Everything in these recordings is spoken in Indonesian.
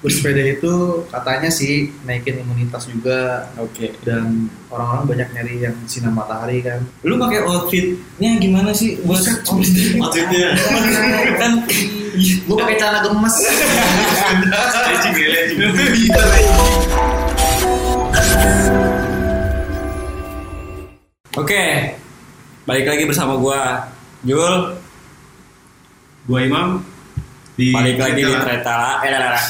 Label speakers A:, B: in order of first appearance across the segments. A: bersepeda itu katanya sih naikin imunitas juga
B: Oke.
A: dan orang-orang banyak nyari yang sinar matahari kan
B: Lu pakai outfitnya gimana sih? Buat
C: Maksudnya
B: kan
A: gue pakai celana gemes
C: stretching ya stretching.
B: Oke. Balik lagi bersama gua Jul,
C: Gua Imam di
B: balik lagi di
C: Ketela.
B: Tretela. Eh, dah, dah, dah.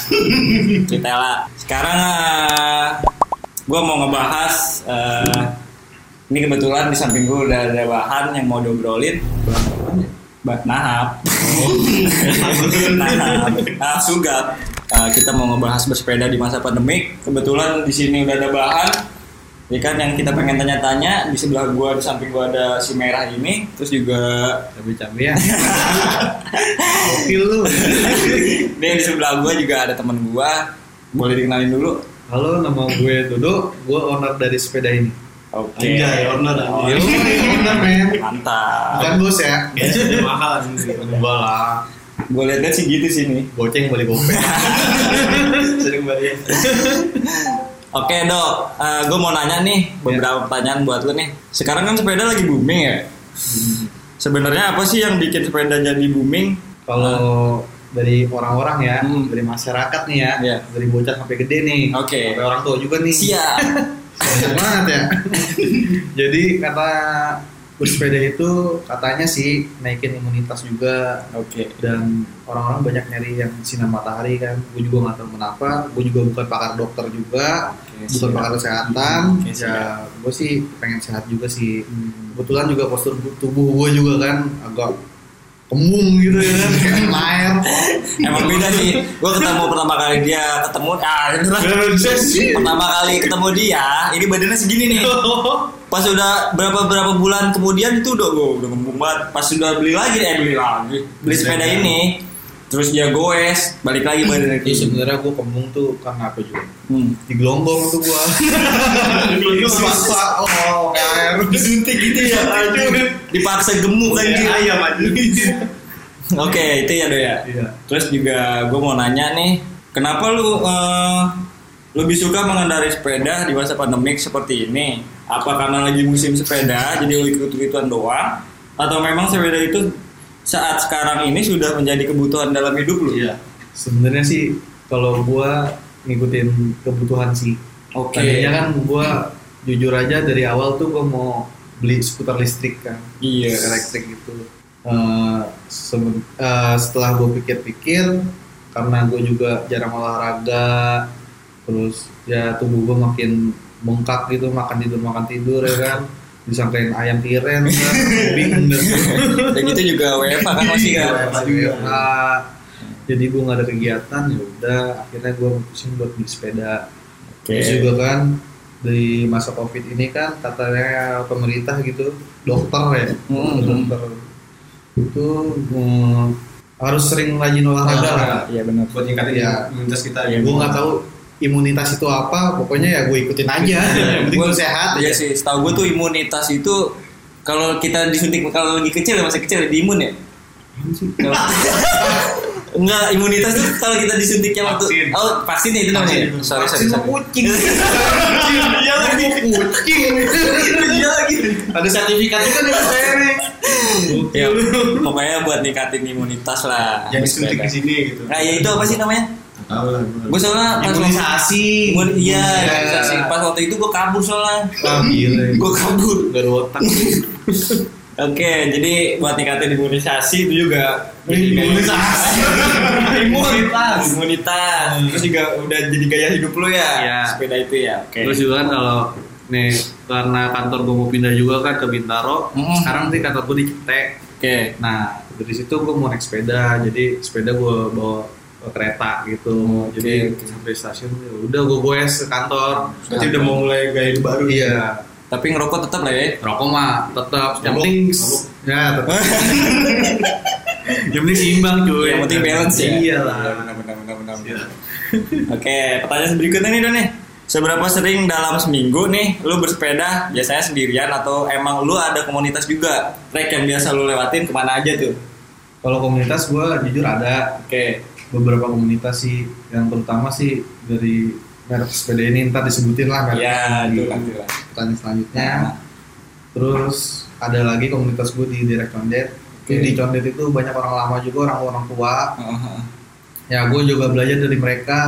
B: Tretela. Sekarang eh, gua mau ngebahas eh, ini kebetulan di samping gua udah ada bahan yang mau diobrolin. Bahan nahap. Nahap. Nahap sugat. Eh, kita mau ngebahas bersepeda di masa pandemik. Kebetulan di sini udah ada bahan. Ya kan yang kita pengen tanya-tanya di sebelah gua di samping gua ada si merah ini, terus juga
A: cabe cabean Gokil lu
B: dia di sebelah gua juga ada teman gua. Boleh dikenalin dulu?
A: halo nama gue Dodo gue owner dari sepeda ini Iya.
B: Oke.
C: Anjay, owner,
B: Oh,
C: anjay.
A: owner men
B: Mantap.
A: bukan bos ya
C: Biasanya mahal anjing.
A: enggak lah
B: Gue lihat sih gitu sih nih.
A: goceng boleh gopeng
C: Sering banget.
B: Oke dok, gue mau nanya nih beberapa pertanyaan buat lu nih. Sekarang kan sepeda lagi booming ya. Sebenarnya apa sih yang bikin sepeda jadi booming?
A: kalau dari orang-orang ya
B: Nah. Hmm.
A: dari masyarakat nih ya
B: Iya.
A: dari bocah sampai gede nih
B: Oke.
A: sampai orang tua juga nih
B: Siap.
A: Banyak banget ya jadi kata bersepeda itu katanya sih naikin imunitas juga
B: Oke.
A: dan orang-orang banyak nyari yang sinar matahari kan gue juga nggak tahu kenapa gue juga bukan pakar dokter juga bukan
B: siap.
A: pakar kesehatan
B: Oke,
A: ya gue sih pengen sehat juga sih kebetulan juga postur bu- tubuh gue juga kan agak kembung gitu ya kan kayak air
B: Emang beda sih. Gue ketemu pertama kali dia ketemu. Ah, ini lah.
A: Iya,
B: pertama kali ketemu dia, ini badannya segini nih. Pas udah berapa berapa bulan kemudian itu udah gue udah ngembung banget. Pas udah beli lagi, eh beli lagi, beli sepeda ini. Terus dia goes, balik lagi
A: Jadi
B: badannya kayak
A: sebenarnya gue kembung tuh karena apa juga
B: Hmm.
A: digelombong tuh gue Dipaksa, oh air
B: disuntik gitu ya Iya. dipaksa gemuk
C: Bukan
B: anjir
C: ayam anjing.
B: oke itu ya doya
A: Iya.
B: terus juga gue mau nanya nih kenapa lu eh, lebih suka mengendarai sepeda di masa pandemik seperti ini apa karena lagi musim sepeda jadi lu ikut-ikutan doang atau memang sepeda itu saat sekarang ini sudah menjadi kebutuhan dalam hidup lu
C: Iya.
A: sebenarnya sih kalau gua ngikutin kebutuhan sih
B: Oke.
A: tadinya kan gua jujur aja dari awal tuh gua mau beli skuter listrik kan
B: Iya.
A: Skuter elektrik gitu Eh, seben- eh, setelah gua pikir-pikir karena gue juga jarang olahraga terus ya tubuh gua makin bengkak gitu makan tidur makan tidur ya kan disangkain ayam tiren kan bingung dan
B: dan itu juga WFA kan masih
A: Iya,
B: kan
A: masih
C: Iya.
A: WFA. jadi gue nggak ada kegiatan ya udah akhirnya gue mutusin buat beli sepeda
B: Oke.
A: terus juga kan di masa covid ini kan katanya pemerintah gitu dokter ya
B: Hmm.
A: dokter itu mm, harus sering rajin olahraga lah
B: iya benar
C: Buat ningkatin
A: Iya.
C: imunitas kita
B: Iya.
C: ya.
A: gue nggak tahu imunitas itu apa pokoknya ya gue ikutin aja yang penting gue sehat
B: Iya
A: ya
B: sih, setahu gue tuh imunitas itu kalau kita disuntik kalau lagi kecil ya masih kecil ya diimun ya. Kalau- Enggak, imunitas tuh kalau kita disuntiknya waktu
C: Vaksin.
B: oh vaksin ya itu namanya. ya?
C: Vaksin.
B: Sorry, sorry,
A: Vaksin
B: sorry.
A: kucing
C: Iya lagi.
A: kucing
B: Iya lagi.
A: ada sertifikatnya kan yang saya nih
B: Ya, pokoknya buat ningkatin imunitas lah.
C: Yang disuntik di sini gitu.
B: Nah, ya itu apa sih namanya?
C: Nggak Tahu lah. gua. Iya.
B: Gue soalnya pas waktu
A: imunisasi
B: Imun- iya,
A: Iya.
B: imunisasi. pas waktu itu gue kabur soalnya.
A: Ah, gila
B: Gue kabur.
A: gak ada otak
B: Oke, jadi buat ningkatin imunisasi itu juga
C: Imunitas.
B: imunitas imunitas terus juga udah jadi gaya hidup lo ya
A: Iya.
B: sepeda itu ya oke
A: terus juga kan kalau nih karena kantor gue mau pindah juga kan ke Bintaro
B: Mm.
A: sekarang nanti kantor gue di Cipete
B: oke
A: nah dari situ gue mau naik sepeda jadi sepeda gue bawa ke kereta gitu
C: Oh,
B: Oke,
A: jadi
B: oke.
A: sampai stasiun ya udah gue goes ke kantor
C: Berarti udah mau mulai gaya hidup baru.
A: iya
B: tapi ngerokok tetap lah ya
A: rokok mah tetap yang
C: Mabuk,
A: penting
C: mabuk.
A: ya tetap yang penting seimbang cuy
B: yang penting balance ya
A: iya lah
B: benar benar benar benar
C: Iya.
B: oke pertanyaan berikutnya nih Don nih seberapa sering dalam seminggu nih lu bersepeda biasanya sendirian atau emang lu ada komunitas juga trek yang biasa lu lewatin kemana aja tuh
A: kalau komunitas gue jujur ada
B: oke
A: beberapa komunitas sih yang terutama sih dari merek sepeda ini ntar disebutin lah merek
B: ya
A: di
B: itu nanti lah
A: pertanyaan selanjutnya terus ada lagi komunitas gue di Direct Condet Jadi
B: Oke.
A: di Condet itu banyak orang lama juga orang orang tua
B: Heeh.
A: ya gue juga belajar dari mereka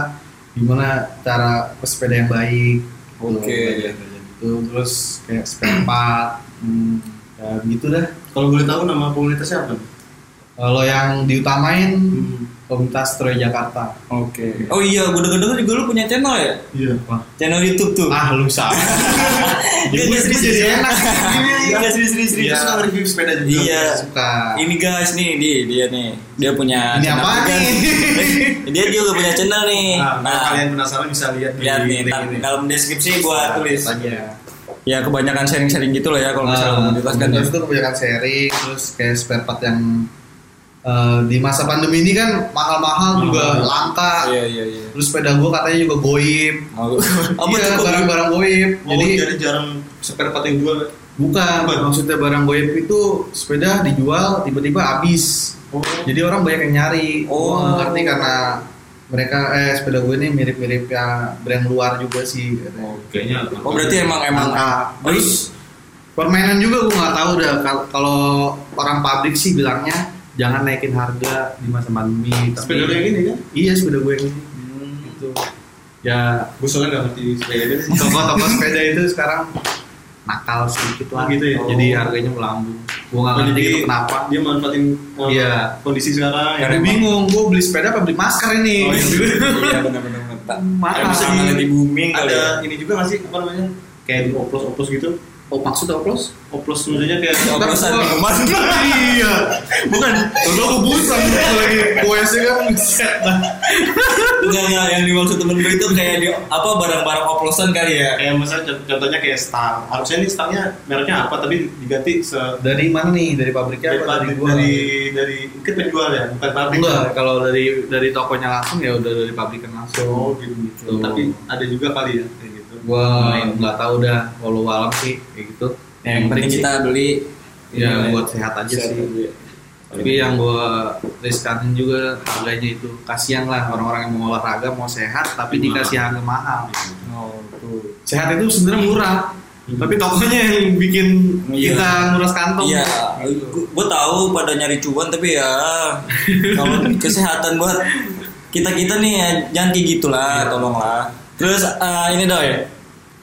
A: gimana cara bersepeda yang baik
B: Oke.
A: Belajar- belajar gitu. terus kayak sepeda empat hmm, ya gitu dah
C: Kalau boleh tahu nama komunitasnya apa?
A: kalau yang diutamain komunitas Troy Jakarta
B: oke oh iya gue denger denger juga lu punya channel ya
C: Iya.
A: Wah.
B: channel YouTube tuh
A: ah lu sama
B: Dia
A: Gue
B: serius
A: jadi
B: ya?
A: enak
B: Iya, serius serius serius.
A: Iya.
C: Terus nggak review sepeda juga.
B: Iya.
A: suka
B: Ini guys nih dia, dia nih dia punya
A: Ini
B: channel
A: apaan
B: juga.
A: nih?
B: dia juga punya channel nih.
C: Nah, kalau
B: Nah,
C: kalian penasaran bisa lihat Ah, di
B: lihat nih
C: link
B: tar-
C: ini.
B: dalam deskripsi gua tulis.
A: aja
B: Ya kebanyakan sharing-sharing gitu loh ya kalau
C: Ah.
B: misalnya
A: Eh,
B: mau dijelaskan ya.
A: terus itu kebanyakan sharing terus kayak spare part yang eh, di masa pandemi ini kan mahal-mahal
C: Mahal.
A: juga langka
B: Iya iya iya.
A: terus sepeda gue katanya juga goib
B: Mau- Apa
A: iya
B: tuh gua-
A: barang-barang goib
C: Ah, Oh,
A: jadi
C: jadi, jarang spare part yang dua.
A: bukan
C: Apa?
A: maksudnya barang goib itu sepeda dijual tiba-tiba habis
C: Oh.
A: jadi orang banyak yang nyari
B: Oh.
A: Gua ngerti karena mereka eh sepeda gue ini mirip-mirip ya brand luar juga sih katanya.
C: Kayaknya. apa?
B: Oh berarti emang emang Oh, iya,
A: Langka.
B: terus
A: Oh, permainan juga gue nggak tahu dah Kal- kalau orang pabrik sih bilangnya jangan naikin harga di masa pandemi tapi
C: sepeda lu yang ini kan?
A: iya sepeda gue yang ini gitu ya
C: Gue soalnya nggak ngerti sepeda ini.
A: toko-toko sepeda itu sekarang nakal sedikit lah
C: Oh, gitu ya?
A: jadi harganya melambung gue nggak
C: Oh,
A: ngerti
C: jadi
A: itu Ah, gitu kenapa
C: Dia manfaatin uh,
A: Iya.
C: kondisi sekarang.
A: Gue
C: ya.
A: bingung gue beli sepeda apa beli masker ini
C: Oh, iya.
B: iya benar-benar mantap.
A: mahal
B: Bisa
C: Ada-
B: di booming kali. ya.
C: Ada ini juga nggak sih apa namanya? Kayak di oplos-oplos gitu.
A: oh maksud oplos
C: Oplos maksudnya kayak
B: Ya,
A: Ntar
B: oplosan
A: gua-
B: di rumah.
A: iya bukan udah kebusan gitu lagi kuesnya kan set lah
B: Enggak enggak yang dimaksud temen gue itu kayak di apa barang-barang oplosan kali ya.
C: kayak misalnya cont- contohnya kayak stang. Harusnya ini stangnya mereknya apa tapi diganti se
A: dari mana nih dari pabriknya
C: dari
A: apa dari
C: dari
A: gua
C: dari, dari mungkin penjual ya, bukan pabrik.
A: enggak
B: kan?
A: kalau dari dari tokonya langsung ya udah dari pabrikan
C: Oh
A: langsung
C: gitu.
A: Gitu.
C: Tapi ada juga kali ya kayak gitu.
A: gue
C: Main.
A: nggak tahu dah walau alam sih kayak gitu
B: Hmm. Ya, Yang penting kita beli
A: ya
B: Iya,
A: buat sehat aja
B: sehat
A: sih
B: aja.
A: tapi yang gue riskanin juga harganya itu kasihan lah orang-orang yang mau olahraga mau sehat tapi
C: Mahal.
A: dikasih harga mahal
B: Oh, tuh.
A: sehat itu sebenarnya murah
C: Hmm.
A: tapi tokonya yang bikin
B: Iya.
A: kita nguras kantong
B: Iya, gue tahu pada nyari cuan tapi ya kalau kesehatan buat kita kita nih ya, jangan kayak gitulah, tolonglah. Terus eh, ini doy,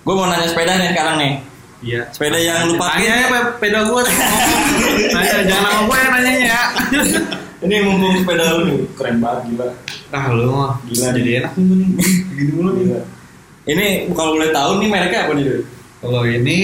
B: gue mau nanya sepeda nih sekarang nih.
A: iya
B: Sepeda yang lu pakai.
A: tanya ya peda gue tanya jangan sama gue yang nanyanya ya
B: Ini mumpung sepeda lu nih, keren banget gila.
A: ah lu mah
B: Gila,
A: jadi
B: nih.
A: enak nih gua nih
C: Gini mulu nih.
B: Ini kalau boleh tahu nih mereknya apa nih doy?
A: Kalau ini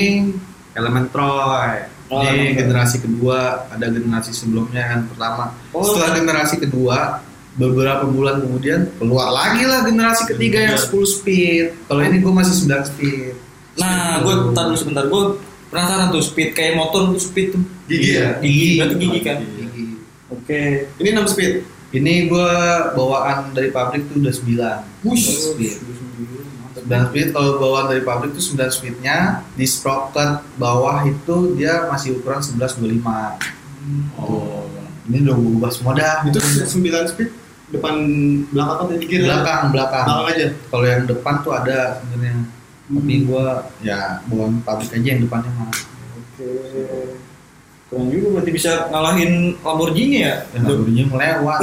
A: Elemen Troy.
B: Oh,
A: ini
B: Elemen Troy.
A: generasi kedua, ada generasi sebelumnya kan pertama.
B: Oh.
A: Setelah generasi kedua, beberapa bulan kemudian keluar lagi lah generasi ketiga
B: Iya.
A: yang 10 speed. Kalau ini gue masih 9 speed.
B: Nah, gue tar dulu sebentar, gue penasaran tuh speed kayak motor tuh speed tuh.
C: Gigi
A: Iya.
C: ya.
B: Gigi, berarti gigi kan?
A: Gigi.
B: Oke.
C: Ini 6 speed.
A: Ini gue bawaan dari pabrik tuh udah 9.
B: Wush.
A: 9 speed. 9 speed kalau bawaan dari pabrik tuh 9 speednya di sprocket bawah itu dia masih ukuran 1125.
C: Oh.
A: Ini udah gue ubah semua dah.
C: Itu 9 speed depan belakang atau di kiri?
A: belakang belakang
C: Belakang aja.
A: kalau yang depan tuh ada sebenarnya tapi gua ya buang pabrik aja yang depannya mah
B: Oke. Keren juga berarti bisa ngalahin Lamborghini ya?
A: yang dulunya melewat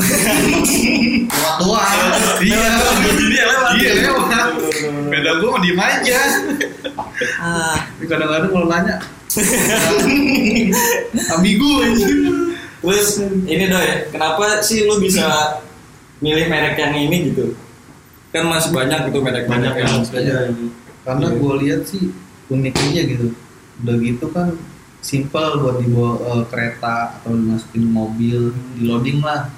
A: lewat doang iya
B: Iya, lewat.
A: iya lewat beda gua mau diem aja
B: Ah,
A: Tapi kadang-kadang kalau nanya ambigu aja
B: terus ini doy, kenapa sih lu bisa milih merek yang ini gitu? Kan masih banyak gitu merek
C: Banyak yang
A: Banyak.
C: sepeda yang
A: karena
C: Iya.
A: gua lihat sih unik aja gitu udah gitu kan simpel buat dibawa eh, kereta atau dimasukin mobil di loading lah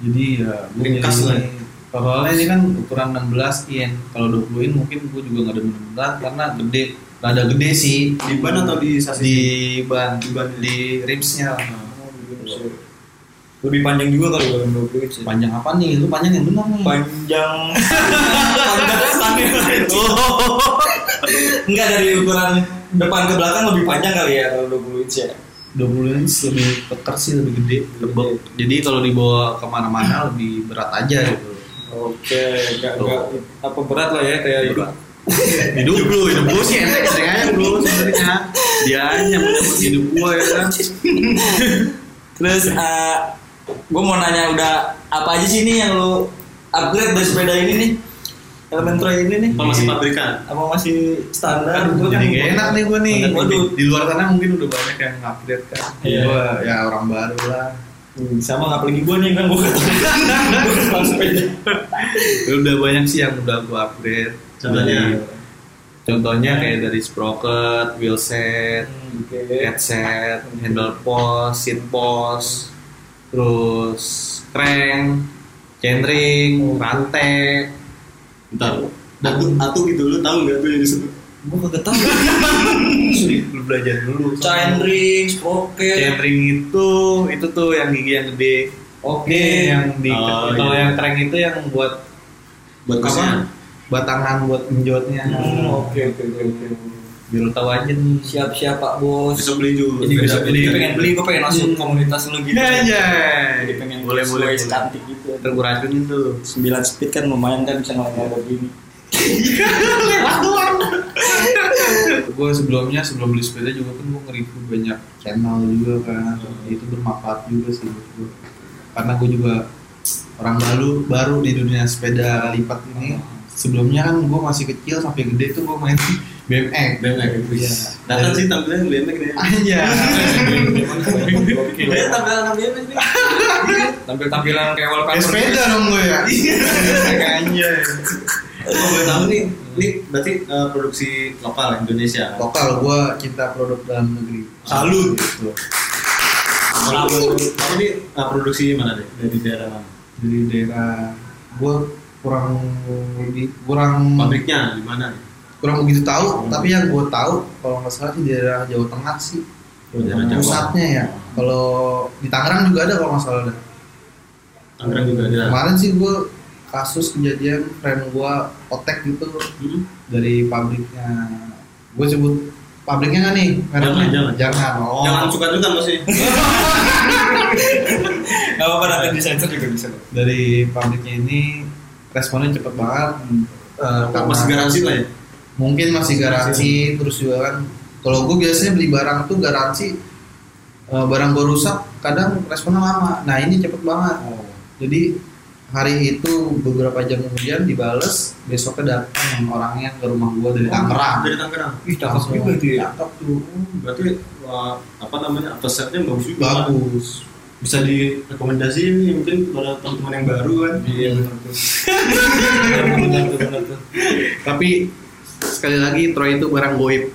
A: jadi ya gue
C: Ringkas lah ya.
A: Soalnya ini kan ukuran 16 in kalau 20 in mungkin gue juga nggak demen berat karena gede rada gede sih
C: di ban atau di sasis?
A: di ban
C: Di ban. ya? Ah.
A: di rimsnya lah.
B: Lebih panjang juga kali kalau menurut gue sih.
A: panjang apa nih lu panjang yang benar nih
B: Panjang. Panjang standar. Oh, Enggak dari ukuran depan ke belakang lebih panjang kali ya kalau 20 inch ya.
A: 20 inch lebih kekar sih lebih gede lebih gede. jadi kalau dibawa kemana-mana lebih berat aja gitu
D: Oke, gak, gak, apa berat lah ya kayak hidup.
A: hidup lu hidup gue sih enteng enteng aja bro sebenarnya dia aja mau nyebut hidup gue ya kan
B: Terus eh gue mau nanya udah apa aja sih nih yang lu upgrade dari sepeda ini nih? Elemen Troy ini nih?
C: Kalau masih pabrikan.
B: Apa masih standar? Gua
A: jadi
B: kan-
A: gak enak nih gue nih
B: Waduh.
A: di luar sana mungkin udah banyak yang update kan
D: Iya.
A: gue ya orang baru lah
D: Hmm, sama nggak lagi gue nih kan gue ketemu sepeda.
A: Ya udah banyak sih yang udah gue upgrade
C: Contohnya?
A: Dari- contohnya kayak dari sprocket wheelset
D: Hmm, Oke.
A: headset handle post seat post terus crank chainring rantai
C: Bentar. Aku aku gitu lu tahu nggak tuh yang disebut?
B: Gua kagak tahu.
A: lu belajar dulu
B: Chainring,
A: Iya.
B: sprocket.
A: Chainring itu itu tuh yang gigi yang gede.
B: Oke.
A: Yang di
C: Oh,
A: kalau
C: iya.
A: yang crank itu yang buat
C: Buat
A: apa?
C: kosnya.
A: Batangan buat menjotnya.
D: Hmm, Oke oke oke. oke.
A: Biar lu tahu aja nih.
B: Siap-siap Pak Bos.
C: Besok beli juga.
B: Jadi besok
A: beli.
B: beli, pengen beli, gue pengen masuk komunitas lu gitu.
A: Iya aja.
D: Jadi pengen
A: Boleh
D: cosplay
A: boleh. boleh.
D: cantik gitu.
A: Ntar gua racunin tuh.
B: 9 speed kan lumayan kan bisa ngelawan begini.
A: gue sebelumnya sebelum beli sepeda juga kan gue nge-review banyak channel juga kan itu bermanfaat juga sih buat gue karena gue juga orang baru baru di dunia sepeda lipat ini sebelumnya kan gue masih kecil sampai gede tuh gue main BMX
C: BMX.
A: Iya.
C: Datang sih tampilannya BMX
D: ya.
C: deh.
A: aja
C: Iya, tampilan
D: Tampil tampilan kayak
A: Pakai
D: wallpaper.
B: gitu.
A: sepeda dong gue ya
C: Iya.
A: aja
C: Kalau boleh tahu nih, ini berarti eh, produksi lokal Indonesia.
A: lokal gue cinta produk dalam negeri
C: Salut.
A: Gitu.
C: Kalau kalau ini eh, produksi mana deh? Dari daerah mana?
A: dari daerah gue kurang lebih kurang
C: Pabriknya di mana?
A: kurang begitu tahu
C: Hmm.
A: tapi yang gue tahu kalau nggak salah sih di daerah Jawa Tengah sih
C: Oh, Daerah Jawa.
A: pusatnya ya kalau di Tangerang juga ada kalau nggak salah dah.
C: Tangerang juga ada.
A: kemarin sih gue kasus kejadian friend gue otek gitu
C: Hmm?
A: dari pabriknya gue sebut pabriknya nggak nih mereknya?
C: Jangan, jangan.
A: oh
C: Jangan suka-suka maksudnya.
D: Gak apa-apa nanti di sensor juga bisa.
A: dari pabriknya ini responnya cepet banget Eh, karena
C: Masih garansi lah ya.
A: mungkin masih garansi terus juga kan kalau gue biasanya beli barang tuh garansi eh, barang gue rusak kadang responnya lama nah ini cepet banget jadi hari itu beberapa jam kemudian dibales besoknya datang orangnya ke rumah gue dari Tangerang
C: Dari Tangerang. Hmm,
D: Ih, cakep juga itu ya.
A: Cakep tuh
C: Berarti eh, apa namanya? Aftersetnya bagus juga.
A: bagus
C: bisa direkomendasiin nih mungkin pada teman-teman yang baru kan
D: Iya benar tuh. Benar tuh, benar tuh.
A: tapi sekali lagi Troy itu barang goib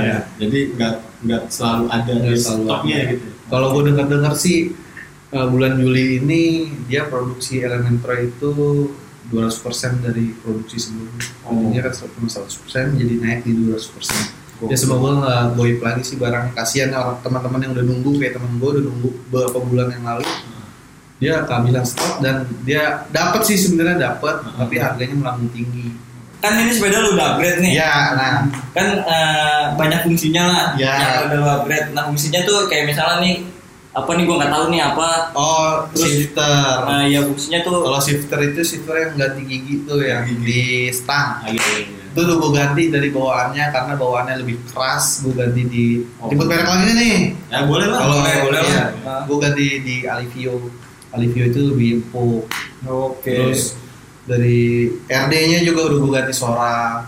C: Iya. jadi nggak nggak selalu ada
A: Nggak
B: Iya,
C: di
A: selalu
C: stoknya
A: ada.
C: gitu
A: Kalau gue dengar-dengar sih eh, bulan Juli ini dia produksi Elementra itu 200% dari produksi sebelumnya.
B: Oh.
A: Tadinya kan 100% jadi naik di 200%. Ya semoga nggak goip lagi sih barangnya. Kasihan ya orang teman-teman yang udah nunggu kayak teman gue udah nunggu beberapa bulan yang lalu.
C: Nah,
A: Dia kehabisan stok dan dia dapat sih sebenarnya dapat, tapi harganya melambung tinggi.
B: Kan ini sepeda lu udah upgrade nih.
A: Ya, nah
B: kan eh, banyak fungsinya lah
A: Ya.
B: yang udah lu upgrade nah fungsinya tuh kayak misalnya nih apa nih gua nggak tahu nih apa
A: oh shifter.
B: nah ya fungsinya tuh
A: Kalau shifter itu shifter yang ganti gigi tuh yang di stang.
C: Ah, iya, iya, iya.
A: itu tuh gue ganti dari bawaannya karena bawaannya lebih keras gue ganti di
C: Oh.
A: nyebut merek lagi nih
C: ya boleh lah
A: kalau
B: boleh, boleh
A: iya,
B: lah. Ah.
A: gue ganti di Alivio Alivio itu lebih empuk
D: Oke.
A: terus dari RD-nya juga udah gue ganti Sora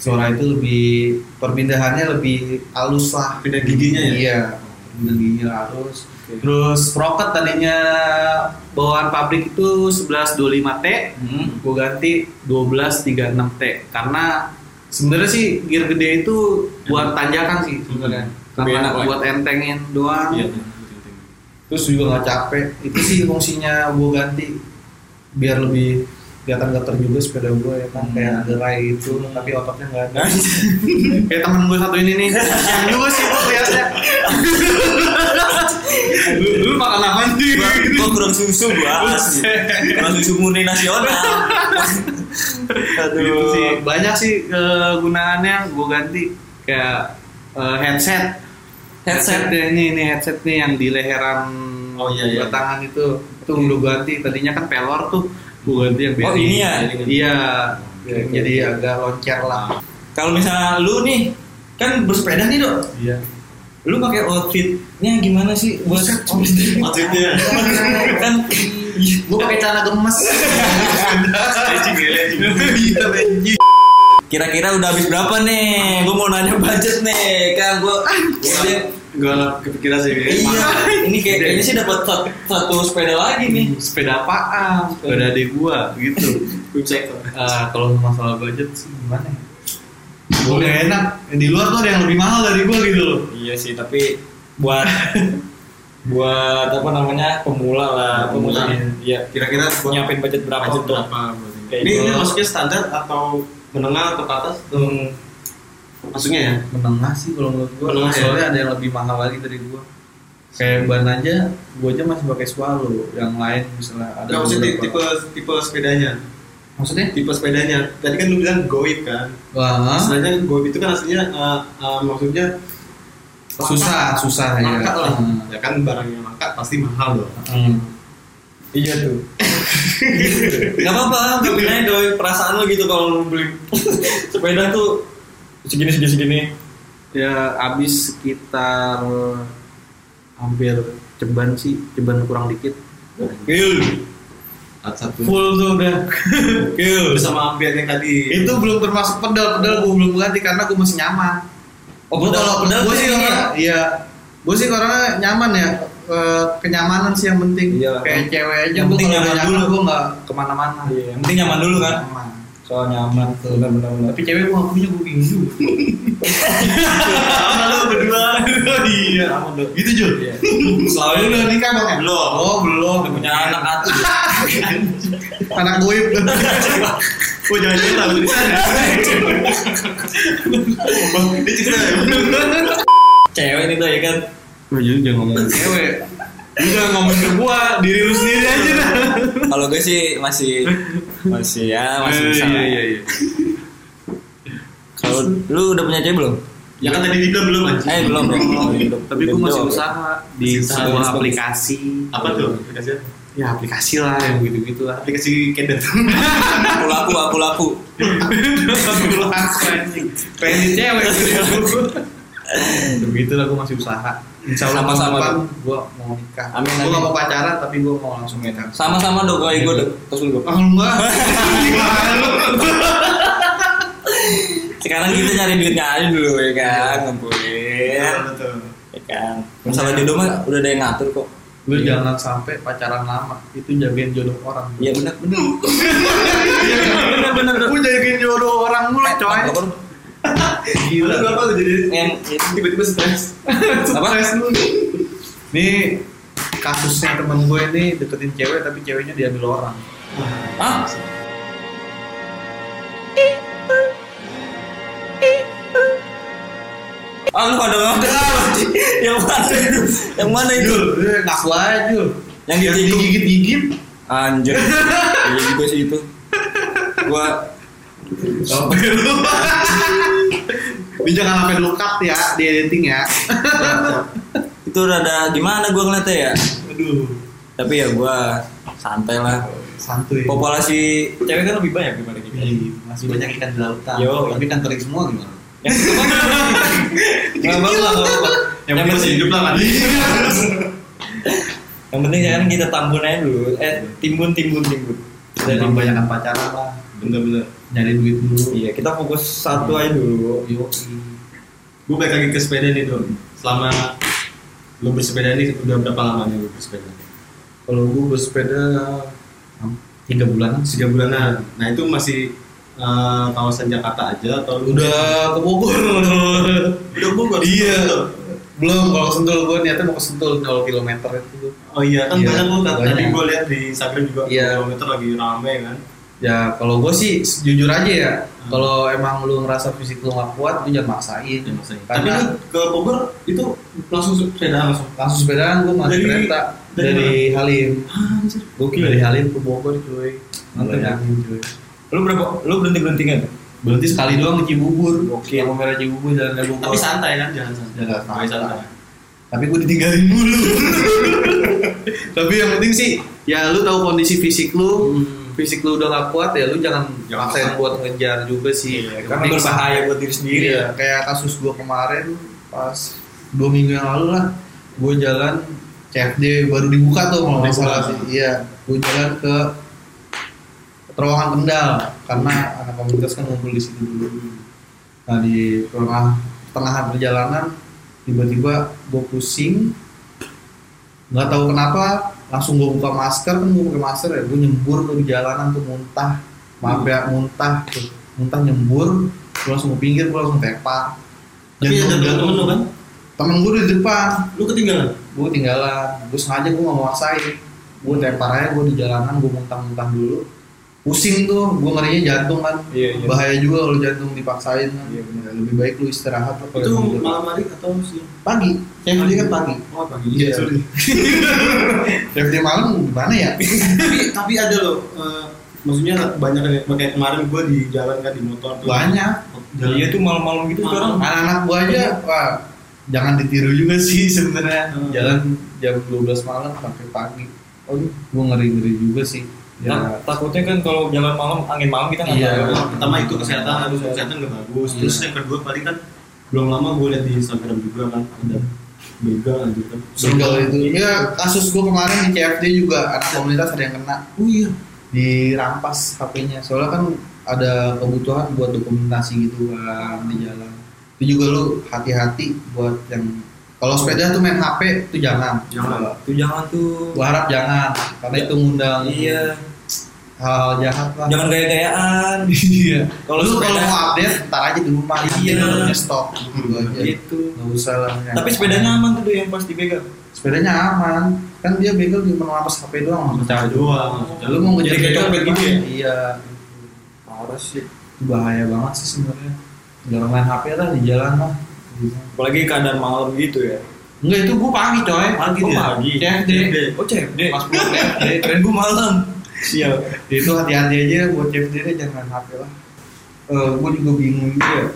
A: Sora itu lebih perpindahannya lebih halus lah
C: Pindah giginya ya?
A: iya perpindahan giginya halus terus sprocket tadinya bawaan pabrik itu 1125T
B: hmm,
A: gue ganti 1236T karena sebenarnya sih gear gede itu buat tanjakan sih sebenarnya
D: Lebih
A: karena
D: enak lah.
A: buat entengin doang
C: iya
A: terus juga nggak capek itu sih fungsinya gue ganti biar lebih kelihatan gater juga sepeda gue ya kan kayak ada rai gitu tapi ototnya nggak ada kayak temen gue satu ini nih yang juga sih gue liatnya lu, lu makan apa nih
B: gua, gua kurang susu gua asli. kurang susu murni nasional aduh
C: Oh.
A: Gitu sih. Banyak sih kegunaannya gue ganti kayak eh, headset.
B: Headset.
A: Headsetnya ini, ini headset nih yang di leheran
C: Oh, iya, iya.
A: buat tangan itu itu lu ganti tadinya kan pelor tuh gua ganti yang
B: Oh,
A: bearing.
B: ini ya?
A: iya jadi agak loncer lah
B: Kalau misalnya lu nih kan bersepeda nih dok,
A: iya
B: lu pakai outfitnya gimana sih buat
C: Outfitnya.
B: kan
A: gua pakai celana gemes
C: Legend ya, legend.
B: kira-kira udah habis berapa nih? Gue mau nanya budget nih, kan gue
C: Gue lah kepikiran sih. ya.
B: iya ini kayak kayaknya sih dapat sat- satu sepeda lagi nih.
A: sepeda apaan sepeda adik gua gitu
C: Website.
A: Eh, kalau masalah budget sih gimana ya boleh enak di luar tuh ada yang lebih mahal dari gua gitu loh
B: Iya sih, tapi buat buat apa namanya pemula lah
C: Pemula.
B: Iya,
C: Kira-kira buat
B: nyiapin budget berapa
C: budget
B: untuk
C: berapa buat ini?
B: Kayak
C: Ini ini
B: gua-
C: maksudnya standar atau menengah atau ke atas?
B: Hmm,
C: Maksudnya ya.
A: menengah Hmm. sih kalau menurut gua
C: Menengah ya?
A: soalnya ada yang lebih mahal lagi dari gua kayak ban aja gua aja masih pakai swallow yang lain misalnya ada
C: Enggak maksudnya
A: beberapa-
C: tipe tipe sepedanya.
A: maksudnya
C: Tipe sepedanya. Tadi kan lu bilang goib kan.
A: Wah,
C: Sebenarnya goib itu kan aslinya eh, eh, maksudnya
A: susah susah
B: Iya.
A: ya
C: langka lah.
A: Hmm.
C: Ya kan barang yang langka pasti mahal loh.
A: Hmm.
B: iya tuh. Gak apa-apa, gue aja doi perasaan lo gitu kalau lo beli sepeda tuh segini segini segini.
A: ya habis sekitar hampir ceban sih ceban kurang dikit
B: Gil,
A: full tuh udah
B: gil.
C: Sama ambian yang tadi.
A: itu belum termasuk pedal pedal gue belum ganti karena gue masih nyaman
B: Oh,
A: Gua
B: pedal- pedal
A: gua
B: tuh
A: sih
B: ini
A: orang
B: ya?
A: iya gue sih orangnya nyaman ya E, kenyamanan sih yang penting
B: Iya,
A: kayak cewek aja
B: yang
A: gue
B: penting
A: kalau udah
B: nyaman
A: nyaman
B: dulu.
A: gue nggak kemana-mana
B: Iya, yang penting nyaman dulu kan.
A: Nyaman.
B: Soal nyaman, benar benar benar.
A: tapi cewek gue punya gue
B: gitu.
A: bingung juga
C: Sama lu Ah, berdua. Iya. Sama Iya. lu.
A: gitu Jul
B: Selalu
A: lu udah nikah dong ya
C: Belum.
A: oh belum
B: udah punya anak kan. atuh.
A: anak gue
C: Oh jangan jangan lagu di sana. Bang, ini cerita ya. Oh,
B: Cewek nih tuh ya kan.
A: Lu jangan ngomong cewek
B: Lu jangan ngomong ke gua, diri lu sendiri aja dah. Kalau gue sih masih masih ya masih bisa. lah.
A: iya
B: Kalau lu udah punya cewek belum?
C: Ya kan tadi dibilang belum aja.
B: Eh belum belum.
A: tapi gue masih usaha di
B: Masih usaha,
A: sebuah
B: bagus, bagus.
A: aplikasi
C: Apa tuh aplikasinya?
A: ya aplikasi lah yang gitu gitu lah
C: Aplikasi Kender.
B: Aku laku, aku laku.
A: pengen cewek begitu lah gue masih usaha Insya Allah tahun
B: Sama-sama,
A: depan gue mau nikah
B: Amin,
A: gue gak
B: amin.
A: mau pacaran tapi gue mau langsung nikah
B: Sama-sama dong gue gue dong. Terus lu dong.
A: ah enggak Gimana lu?
B: Sekarang kita cari duitnya aja dulu ya kan,
C: Iya,
B: ngumpulin.
C: betul.
B: Ya kan. Masalah jodoh mah udah ada yang ngatur kok.
A: lu jangan sampai pacaran lama itu jagain jodoh orang
B: Iya benar benar.
A: bener bener gue jagain jodoh orang mulu coy gila
C: Gila berapa lu jadi
B: Yang
C: tiba-tiba stres.
B: apa?
A: Ini kasusnya temen gue ini deketin cewek tapi ceweknya diambil orang.
B: Hah? Ah, lu pada ngomong Yang mana itu? Yang mana Nah, itu?
A: Jul, eh, ngaku aja Jul.
B: Yang
A: Yang
B: gitu
A: digigit-gigit.
B: Anjir Iya juga sih itu Gua
A: Oh. Ini jangan sampai lu cut ya di editing ya.
B: Itu rada gimana gua ngeliatnya ya
A: Aduh,
B: Tapi ya gua Santai lah
A: santuy.
B: Populasi
D: Cewek kan lebih banyak daripada kita.
A: Iya, Masih banyak ikan di lautan.
D: Yo.
A: Tapi ikan kering semua gimana?
B: Yang itu kan Gak apa-apa nggak apa-apa.
C: Yang penting masih hidup lah kan.
B: Yang penting jangan kita tambun aja dulu Eh timbun timbun timbun Kita
A: Jadi
B: timbun.
A: kebanyakan pacaran lah.
C: Bener-bener.
A: Nyari duit dulu.
B: Iya kita fokus satu aja dulu
A: Yo.
C: Gue balik lagi ke sepeda nih dong. Selama lu bersepeda nih udah berapa lama nih lu bersepeda?
A: Kalau gue bersepeda hmm, tiga bulanan sih.
C: Tiga bulanan. Nah itu masih eh, kawasan Jakarta aja atau lu
A: Udah ke Bogor.
C: udah Bogor?
A: Iya.
C: Betul.
A: Belum kalau sentul gue niatnya mau ke sentul 0 km itu.
C: Oh iya kan
A: Iya,
C: banyak lu kan tadi
A: banyak.
C: gue lihat di Instagram juga
A: Iya.
C: kilometer lagi rame kan.
A: Ya kalau gue sih jujur aja ya. Kalau emang lu ngerasa fisik lu nggak kuat, lu jangan maksain.
C: Iya, maksudnya. Tapi
A: Karena
C: lu ke Bogor itu langsung sepeda langsung.
A: langsung sepedaan gue masuk
C: Dari-
A: kereta
C: dari
A: dari, Halim.
C: Anjir.
A: Gokil dari Halim ke Bogor cuy. Iya.
B: Mantap.
A: Bayangin, cuy.
B: Lu berapa? Lu berhenti berhenti nggak?
A: Berhenti sekali doang di Cibubur. Oke, mau merah Cibubur jalan dari Bogor.
C: Tapi santai kan jalan santai.
A: Jalan santai.
C: santai.
A: tapi gue ditinggalin mulu tapi yang penting sih ya lu tahu kondisi fisik lu fisik lu udah gak kuat ya lu jangan
C: Hmm. Jangan
A: maksain
C: maksa.
A: buat ngejar juga sih Yang
B: Iya, karena
A: Iya, penting-
B: berbahaya buat diri sendiri
A: Iya, kayak kasus gua kemarin pas dua minggu yang lalu lah, gua jalan CFD baru dibuka tuh kalau nggak
C: Dibuka.
A: salah sih. Iya, gua jalan ke terowongan Kendal karena anak komunitas kan ngumpul di situ dulu. Nah di tengah pertengahan perjalanan tiba-tiba gua pusing, nggak tahu kenapa langsung gua buka masker kan gua pakai masker ya gua nyembur tuh di jalanan tuh muntah maaf ya muntah tuh muntah nyembur gue langsung ke pinggir gue langsung tepak
C: Tapi ada temen lu kan?
A: temen gue di depan
C: Lu ketinggalan?
A: gue tinggalan gue sengaja gue nggak nguasain gue tepar aja gue di jalanan gue muntah-muntah dulu pusing tuh gue ngerinya jantung kan
B: iya
A: bahaya juga kalau jantung dipaksain kan
B: Iya, benar.
A: lebih baik lu istirahat lah
C: Itu
A: kalau emang gitu.
C: malam hari atau siang?
A: pagi saya beli kan pagi
C: Oh pagi.
A: Iya. Dari malam gimana ya?
C: tapi tapi ada loh. eh, maksudnya banyak yang kayak kemarin gue di jalan kan di motor tuh.
A: Banyak.
C: Jalan
B: iya tuh malam-malam gitu sekarang
A: Anak-anak gua aja, wah, jangan ditiru juga sih sebenarnya.
C: Iya. Hmm.
A: Jalan jam 12 malam sampai pagi. Oh, gua ngeri-ngeri juga sih.
B: Nah,
A: Ya.
B: takutnya kan kalau jalan malam angin malam kita nggak
A: Iya.
B: tahu.
C: Nah, pertama itu kesehatan harus kesehatan gak bagus terus yang kedua paling kan belum lama gue liat di Instagram juga kan ada bega gitu kan
A: Single itu. Ya, kasus gua kemarin di CFD juga anak komunitas ada yang kena
C: oh iya
A: dirampas HP-nya. Soalnya kan ada kebutuhan buat dokumentasi gitu kan di jalan. Itu juga lu hati-hati buat yang kalau sepeda tuh main HP itu jangan.
C: Jangan.
B: Tuh jangan tuh.
A: Gua harap jangan karena itu ngundang
B: Iya,
A: hal jahat lah.
B: jangan gaya-gayaan.
A: Iya. Kalau
B: Kalau
A: lu
B: sepeda-
A: kalau mau update, ntar aja di rumah.
B: Iya.
A: Nanti baru ngestok gitu aja.
B: Gitu.
A: Nggak usah lah. ya.
B: Tapi sepedanya aman tuh yang pas dipegang.
A: sepedanya aman. Kan dia begal di melapas HP doang.
C: percaya doang
A: Ya, lu mau ngejar
B: Jadi kayak
A: begal
B: copet gitu
A: gimana? Iya.
B: Parah sih.
A: Itu bahaya banget sih sebenarnya. Jangan main HP lah di jalan lah. Gitu.
B: Apalagi keadaan malam gitu ya.
A: Enggak itu gua pagi coy. Pagi ya?
B: Oh,
A: dia. eh,
B: pagi.
A: CFD.
B: Oh CFD.
A: Pas pulang CFD.
B: Keren gue malam.
C: Iya,
B: Sial.
A: itu hati-hati aja ya, buat CFD deh jangan main HP lah. Eh, gua juga bingung juga. ya.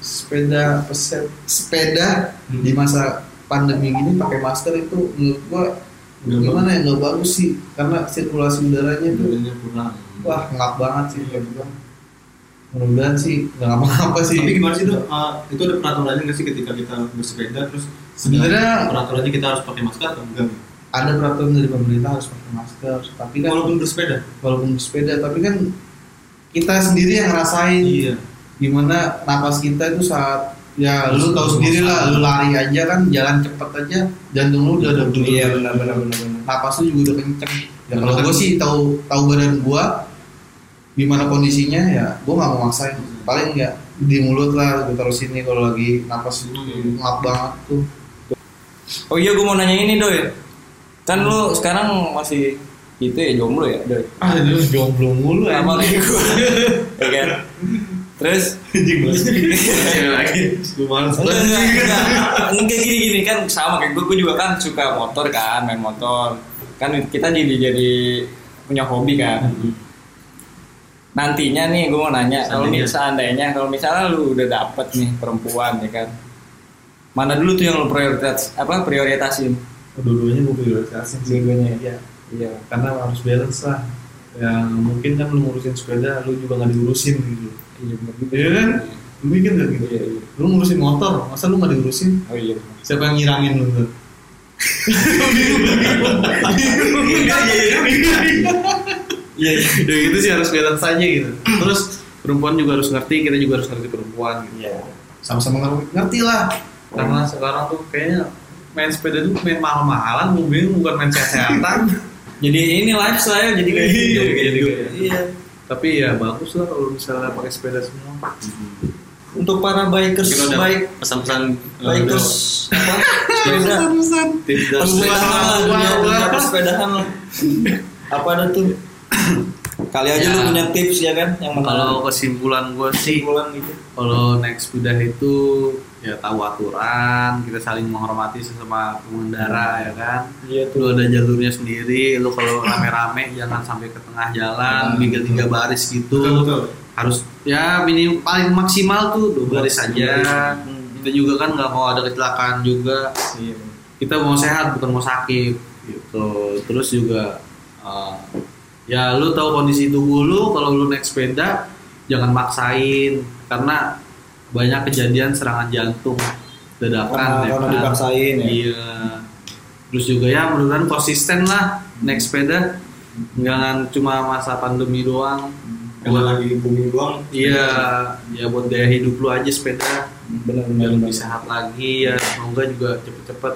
A: Sepeda peset, sepeda
C: Hmm.
A: di masa pandemi gini pakai masker itu menurut gua
C: Nggak
A: gimana ya nggak bagus sih karena sirkulasi udaranya itu
C: Badannya kurang
A: wah ngap banget sih kayak gitu. Mudah-mudahan sih nggak apa-apa sih.
C: tapi gimana sih itu eh, itu ada peraturannya nggak sih ketika kita bersepeda terus
A: Sebenarnya-
C: ada peraturannya kita harus pakai masker atau enggak
A: Ada peraturan dari pemerintah harus pakai masker, tapi kan
C: walaupun bersepeda
A: walaupun sepeda tapi kan kita sendiri yang ngerasain.
C: Iya.
A: gimana napas kita itu saat ya lu tahu sendiri lah lu lari aja kan jalan cepet aja jantung lu udah ada
B: Iya benar benar benar. benar.
A: napas lu juga udah kenceng ya kalau gue sih tahu tahu badan gua gimana kondisinya ya gua nggak mau maksain paling nggak di mulut lah gue taruh sini kalau lagi napas lu ngap banget tuh
B: Oh iya gue mau nanya ini doy. Kan lu sekarang masih itu ya jomblo ya doy.
A: ah lu jomblo mulu
B: Sama kayak gue. Ya kan. Terus
C: anjing
A: Iya,
C: lagi gue males
B: Enggak, enggak, enggak. Enggak, gini gini kan sama kayak gue, gue juga kan suka motor kan, main motor. Kan kita jadi jadi punya hobi kan. Nantinya nih gue mau nanya, kalau
C: Seandainya.
B: mis- seandainya kalau misalnya lu udah dapet nih perempuan ya kan. Mana dulu tuh yang lu prioritas apa prioritasin?
A: dua-duanya gue prioritasin sih
B: Dua-duanya.
A: ya
B: Iya.
A: karena harus balance lah yang mungkin kan lu ngurusin sepeda lu juga nggak diurusin gitu
B: Iya bener juga.
A: Iya kan? Lu mikir gak gitu?
B: Iya, iya.
A: Lu ngurusin motor, masa lu gak diurusin?
B: Oh iya. bener.
A: Siapa yang ngirangin lu tuh? Iya, iya. Ya gitu sih harus balance aja gitu. Terus perempuan juga harus ngerti, kita juga harus ngerti perempuan gitu.
B: Iya.
A: Sama-sama ngerti, ngerti lah. Karena sekarang tuh kayaknya main sepeda tuh main mahal-mahalan, gue bingung bukan main kesehatan.
B: Jadi ini lifestyle jadi kayak
A: Iya,
B: gitu.
A: kayak gitu.
B: Iya.
A: Tapi ya bagus lah kalau misalnya pakai sepeda semua.
B: Untuk para bikers
C: Kita udah
B: baik
C: pesan-pesan eh,
A: Nah,
B: bikers apa? Sepeda.
A: Tips dan
B: Persepedahan lah, dunia, dunia persepedahan lah. Apa ada tuh? Kali aja
A: Ya.
B: lu punya tips ya kan yang menarik.
A: Kalau kesimpulan gue sih,
B: Kesimpulan gitu.
A: kalau naik sepeda itu ya tahu aturan kita saling menghormati sesama pengendara ya kan
B: Iya
A: lu ada jalurnya sendiri lu kalau rame-rame jangan sampai ke tengah jalan
C: Hmm.
A: bikin tiga baris gitu
C: Betul, betul.
A: harus ya minim paling maksimal tuh dua baris aja
B: Hmm.
A: kita juga kan nggak mau ada kecelakaan juga
B: Iya.
A: kita mau sehat bukan mau sakit gitu terus juga eh, ya lu tahu kondisi tubuh lu kalau lu naik sepeda jangan maksain karena banyak kejadian serangan jantung
B: Karena-
A: dadakan ya
B: karena
A: kan?
B: dipaksain ya.
A: iya terus juga ya mudah-mudahan konsisten lah naik sepeda jangan cuma masa pandemi doang
C: Kalau lagi booming doang,
A: Iya, ya buat gaya hidup lu aja sepeda biar
B: benar-benar
A: lebih sehat lagi ya. Semoga juga cepet-cepet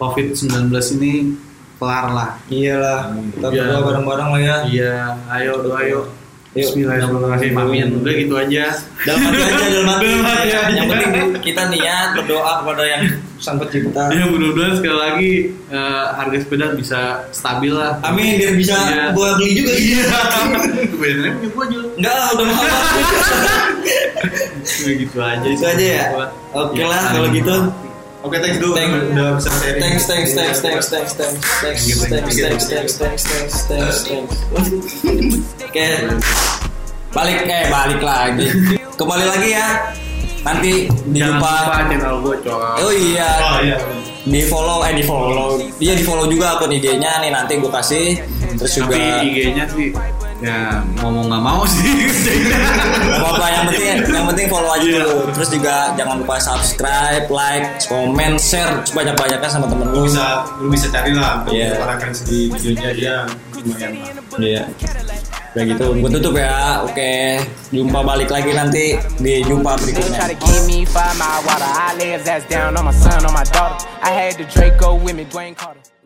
A: COVID-19 ini kelar lah.
B: iyalah kita
A: Iya.
B: berdoa bareng-bareng lah ya
A: Iya, ayo doa yuk.
B: Yuk.
A: Bismillahirrahmanirrahim. Amin. Udah gitu aja.
B: dalam hati aja dalam hati
A: Dalam hati Iya. aja.
B: yang penting kita niat berdoa kepada yang sang pencipta
A: Ya mudah-mudahan sekali lagi eh, harga sepeda bisa stabil lah.
B: amin biar bisa
A: Iya.
B: gua beli juga
A: Iya. Kebetulan punya gua Jul.
B: enggak lah, udah mahal banget.
A: Udah gitu aja. Iya,
B: Gitu aja ya? oke lah kalau gitu
C: Oke, thanks dulu.
B: Thank-
C: Udah bisa sharing. Iya.
B: thanks thanks thanks thanks thanks thanks thanks thanks thanks thanks thanks thanks thanks thanks oke balik eh balik lagi kembali lagi ya nanti di
A: Jangan lupa
B: lupa
A: channel gua coba.
B: oh iya
C: Oh iya.
B: di follow eh di follow iya di follow juga akun IG-nya nih nanti gue kasih terus juga
A: Tapi gitu. IG-nya sih ya ngomong nggak mau sih.
B: apa apa yang penting yang penting follow aja dulu terus juga jangan lupa subscribe like comment share sebanyak banyaknya sama temen
C: Lu
B: lu
C: bisa lu bisa cari lah
B: Iya.
C: para fans di videonya dia lumayan lah.
B: iya udah gitu gue tutup ya oke jumpa balik lagi nanti di jumpa
E: They
B: berikutnya
E: try to keep me five mile water. I live that's down on my son, on my daughter. I had the Draco with me, Dwayne Carter.